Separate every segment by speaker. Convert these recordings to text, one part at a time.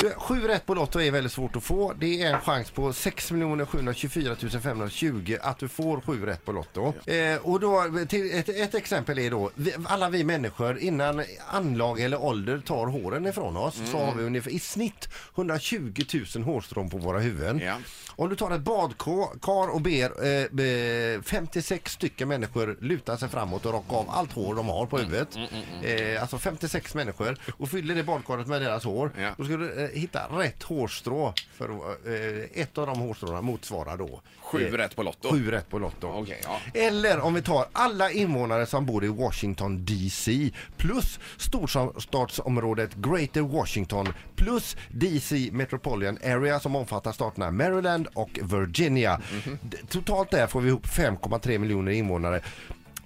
Speaker 1: Du, Sju rätt på Lotto är väldigt svårt att få. Det är en chans på 6 724 520 att du får sju rätt på Lotto. Eh, och då, till, ett, ett exempel är då, vi, alla vi människor innan anlag eller ålder tar håren ifrån oss så har vi ungefär i snitt 120 000 hårstrån på våra huvuden.
Speaker 2: Ja.
Speaker 1: Om du tar ett badkar och ber eh, be- 56 stycken människor luta sig framåt och rocka av allt hår de har på
Speaker 2: Mm,
Speaker 1: huvudet. Eh, alltså 56 människor och fyller det badkaret med deras hår.
Speaker 2: Ja.
Speaker 1: Då ska du eh, hitta rätt hårstrå. För, eh, ett av de hårstråna motsvarar då eh,
Speaker 2: Sju rätt på Lotto.
Speaker 1: sju rätt på Lotto.
Speaker 2: Okej, ja.
Speaker 1: Eller om vi tar alla invånare som bor i Washington DC plus storstadsområdet Greater Washington plus DC Metropolitan Area som omfattar staterna Maryland och Virginia.
Speaker 2: Mhm.
Speaker 1: D- Totalt där får vi ihop 5,3 miljoner invånare.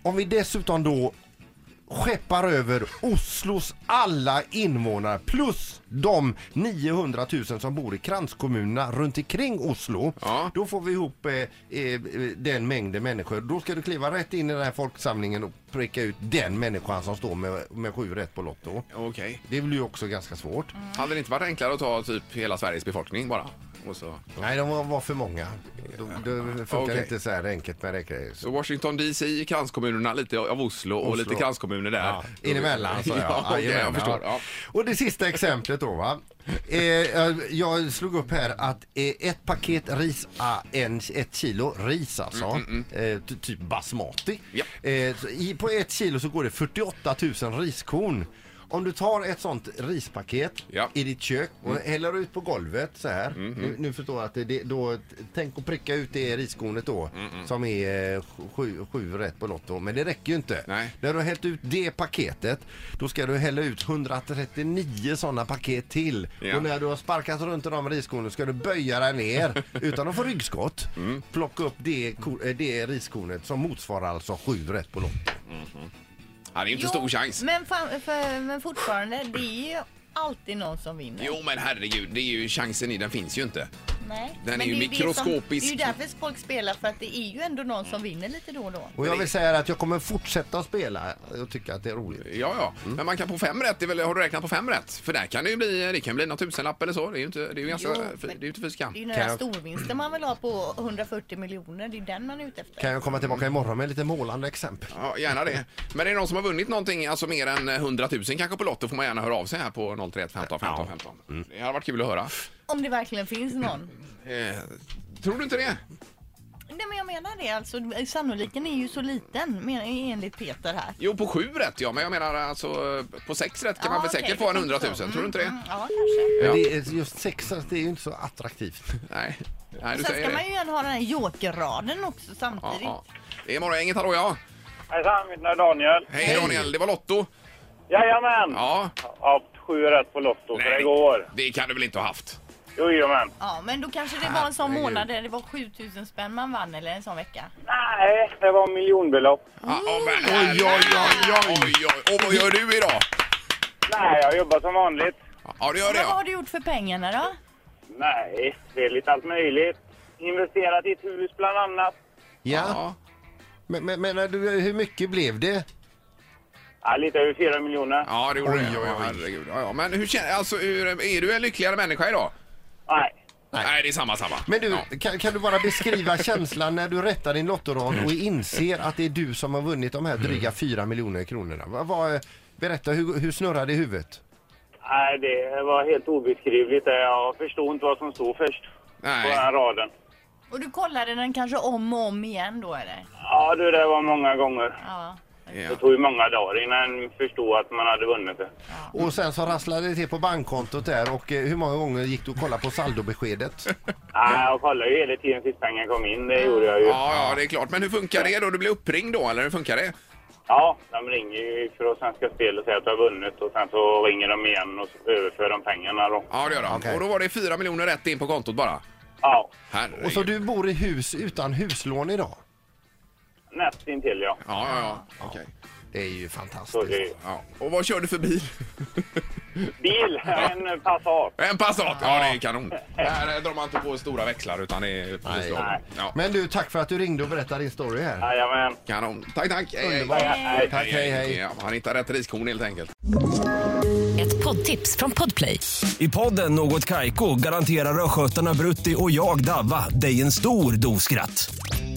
Speaker 1: Om vi dessutom då skeppar över Oslos alla invånare plus de 900 000 som bor i kranskommunerna runt omkring Oslo.
Speaker 2: Ja.
Speaker 1: Då får vi ihop eh, eh, eh, den mängden människor. Då ska du kliva rätt in i den här folksamlingen och pricka ut den människan som står med, med sju rätt på Lotto.
Speaker 2: Okej.
Speaker 1: Det blir ju också ganska svårt.
Speaker 2: Hade det inte varit enklare att ta typ hela Sveriges befolkning bara? Och så.
Speaker 1: Nej, de var, var för många. Det funkar
Speaker 2: Okej.
Speaker 1: inte så här enkelt med räkning.
Speaker 2: så Washington DC, kranskommunerna lite av Oslo och
Speaker 1: Oslo.
Speaker 2: lite kranskommuner där.
Speaker 1: Ja, inemellan så
Speaker 2: ja, okej,
Speaker 1: Jajamän,
Speaker 2: jag förstår. Ja.
Speaker 1: Och det sista exemplet då va. Eh, jag- jag slog upp här att eh, ett paket ris, ah, en, ett kilo ris alltså, Eh, ty- typ basmati.
Speaker 2: Mm, Ja.
Speaker 1: Eh, så i, på ett kilo så går det 48 000 riskorn. Om du tar ett sånt rispaket
Speaker 2: Ja. Mm.
Speaker 1: i ditt kök och häller ut på golvet så här. Nu, nu förstår jag att det, det, då, t- tänk att pricka ut det riskornet då
Speaker 2: Mm,
Speaker 1: som är eh, sju, sju rätt på Lotto. Men det räcker ju inte.
Speaker 2: Nej.
Speaker 1: När du har hällt ut det paketet då ska du hälla ut 139 sådana paket till.
Speaker 2: Ja.
Speaker 1: Och när du har sparkat runt i de riskornen ska du böja dig ner utan att få ryggskott.
Speaker 2: Mm.
Speaker 1: Plocka upp det, ko- eh, det riskornet som motsvarar alltså sju rätt på Lotto.
Speaker 2: Ja, det är inte stor chans.
Speaker 3: Men, fan, för, men fortfarande, det är ju alltid någon som vinner.
Speaker 2: Jo men herregud, det är ju chansen i den finns ju inte.
Speaker 3: Nej.
Speaker 2: Den
Speaker 3: men
Speaker 2: är ju
Speaker 3: det det som-
Speaker 2: mikroskopisk.
Speaker 3: Det är ju därför folk spelar, för att det är ju ändå någon som vinner lite då och då.
Speaker 1: Och jag vill säga att jag kommer fortsätta att spela. Jag tycker att det är roligt.
Speaker 2: Ja, ja.
Speaker 1: Mm.
Speaker 2: Men man kan på fem rätt, det är väl, har du räknat på fem rätt? För där kan det ju bli, det kan bli någon tusenlapp eller så. Det är ju inte, det är ju ganska,
Speaker 3: Jo,
Speaker 2: det är
Speaker 3: men-
Speaker 2: ju inte fy skam.
Speaker 3: Det är ju några
Speaker 1: Kan jag-
Speaker 3: storvinster man vill ha på 140 miljoner. Det är den man är ute efter.
Speaker 1: Kan jag komma tillbaka imorgon med lite målande exempel?
Speaker 2: Ja, gärna det. Men är det någon som har vunnit någonting, alltså mer än 100 000 kanske på Lotto, får man gärna höra av sig här på 031 15 15 15. Det hade varit kul att höra.
Speaker 3: Om det verkligen finns någon.
Speaker 2: Eh, tror du inte det?
Speaker 3: Nej men jag menar det alltså. Sannoliken är ju så liten men- enligt Peter här.
Speaker 2: Jo, på sju rätt ja, men jag menar alltså eh, på sex rätt kan man väl
Speaker 3: okej,
Speaker 2: säkert
Speaker 3: det
Speaker 2: få en
Speaker 3: finns
Speaker 2: 100 000,
Speaker 3: så.
Speaker 2: tror du inte det?
Speaker 3: Mm, ja kanske.
Speaker 1: Men
Speaker 2: Ja.
Speaker 1: det är just sexan, det är ju inte så attraktivt.
Speaker 2: Nej. Nej, du
Speaker 3: Sen
Speaker 2: säger
Speaker 3: ska man
Speaker 2: det.
Speaker 3: ju gärna ha den här jokerraden också
Speaker 2: Ja,
Speaker 3: samtidigt.
Speaker 2: ja. Det är morgongänget, hallå ja.
Speaker 4: Hejsan, mitt namn är Daniel.
Speaker 2: Hej,
Speaker 1: Hej.
Speaker 2: Daniel, det var Lotto.
Speaker 4: Jajamän!
Speaker 2: Ja.
Speaker 4: Ja, sju rätt på Lotto för det går.
Speaker 2: det kan du väl inte ha haft?
Speaker 4: Jo, Jajamän.
Speaker 3: Ja, men då kanske det var en sån
Speaker 2: Herregud.
Speaker 3: månad där det var 7000 spänn man vann eller en sån vecka.
Speaker 4: Nej, det var miljonbelopp.
Speaker 2: Ja, ja, men herregud. oj, oj, oj. Och vad gör du idag?
Speaker 4: Nej, jag jobbar som vanligt.
Speaker 2: Ja, det gör det
Speaker 3: Men vad har
Speaker 2: ja.
Speaker 3: du gjort för pengarna då?
Speaker 4: Nej, det är lite allt möjligt. Investerat i ett hus bland annat.
Speaker 1: Ja,
Speaker 2: ja.
Speaker 1: men, men, men när du, hur mycket blev det?
Speaker 4: Ja, lite över fyra miljoner.
Speaker 2: Ja, det gjorde
Speaker 1: Oj,
Speaker 2: det.
Speaker 1: oj,
Speaker 2: Ja,
Speaker 1: oj.
Speaker 2: herregud. Ja, ja. Men hur känner, alltså, hur, är du en lyckligare människa idag?
Speaker 4: Nej.
Speaker 2: Nej, det är samma, samma.
Speaker 1: Men du,
Speaker 2: Ja.
Speaker 1: kan, kan du bara beskriva känslan när du rättar din lottorad och inser att det är du som har vunnit de här dryga fyra miljoner kronorna? Vad- vad- berätta, hur, hur snurrar det i huvudet?
Speaker 4: Nej, det var helt obeskrivligt. Jag förstod inte vad som stod först på den
Speaker 2: Nej.
Speaker 4: här raden.
Speaker 3: Och du kollade den kanske om och om igen då eller?
Speaker 4: Ja, du, det var många gånger.
Speaker 3: Ja.
Speaker 4: Det
Speaker 2: Ja.
Speaker 4: tog ju många dagar innan jag förstod att man hade vunnit det.
Speaker 1: Och sen så rasslade det till på bankkontot där och eh, hur många gånger gick du och kollade på saldobeskedet?
Speaker 4: Nej, jag kollade ju hela tiden tills pengar kom in. Det gjorde jag ju.
Speaker 2: Ja, ja, det är klart. Men hur funkar det då? Du blir uppringd då, eller hur funkar det?
Speaker 4: Ja, de ringer ju från Svenska Spel och säger att du har vunnit och sen så ringer de igen och så överför de pengarna då.
Speaker 2: Ja, det gör de.
Speaker 1: Okej.
Speaker 2: Och då var det fyra miljoner rätt in på kontot bara.
Speaker 4: Ja,
Speaker 2: Herregud.
Speaker 1: Och så du bor i hus utan huslån idag?
Speaker 4: nästintill ja.
Speaker 2: Ja, ja, ja. Okej.
Speaker 1: Det är ju
Speaker 4: Så det
Speaker 1: fantastiskt.
Speaker 4: är
Speaker 2: ja. Och vad kör du för bil?
Speaker 4: bil, en Passat.
Speaker 2: En Passat! Ja, det är kanon. Här eh, drar man inte på stora växlar utan det är precis
Speaker 1: Nej.
Speaker 2: lagom.
Speaker 4: Nej.
Speaker 2: Ja.
Speaker 1: Men du, tack för att du ringde och berättade din story här.
Speaker 4: Jajamän.
Speaker 2: Kanon. Tack, tack. Hej, hej.
Speaker 1: Underbart.
Speaker 4: Hej.
Speaker 1: Tack, hej, hej.
Speaker 2: Ja, han hittar rätt riskorn helt enkelt.
Speaker 5: Ett poddtips från Podplay.
Speaker 6: I podden Något Kaiko garanterar östgötarna Brutti och jag, Davva, dig en stor dos skratt.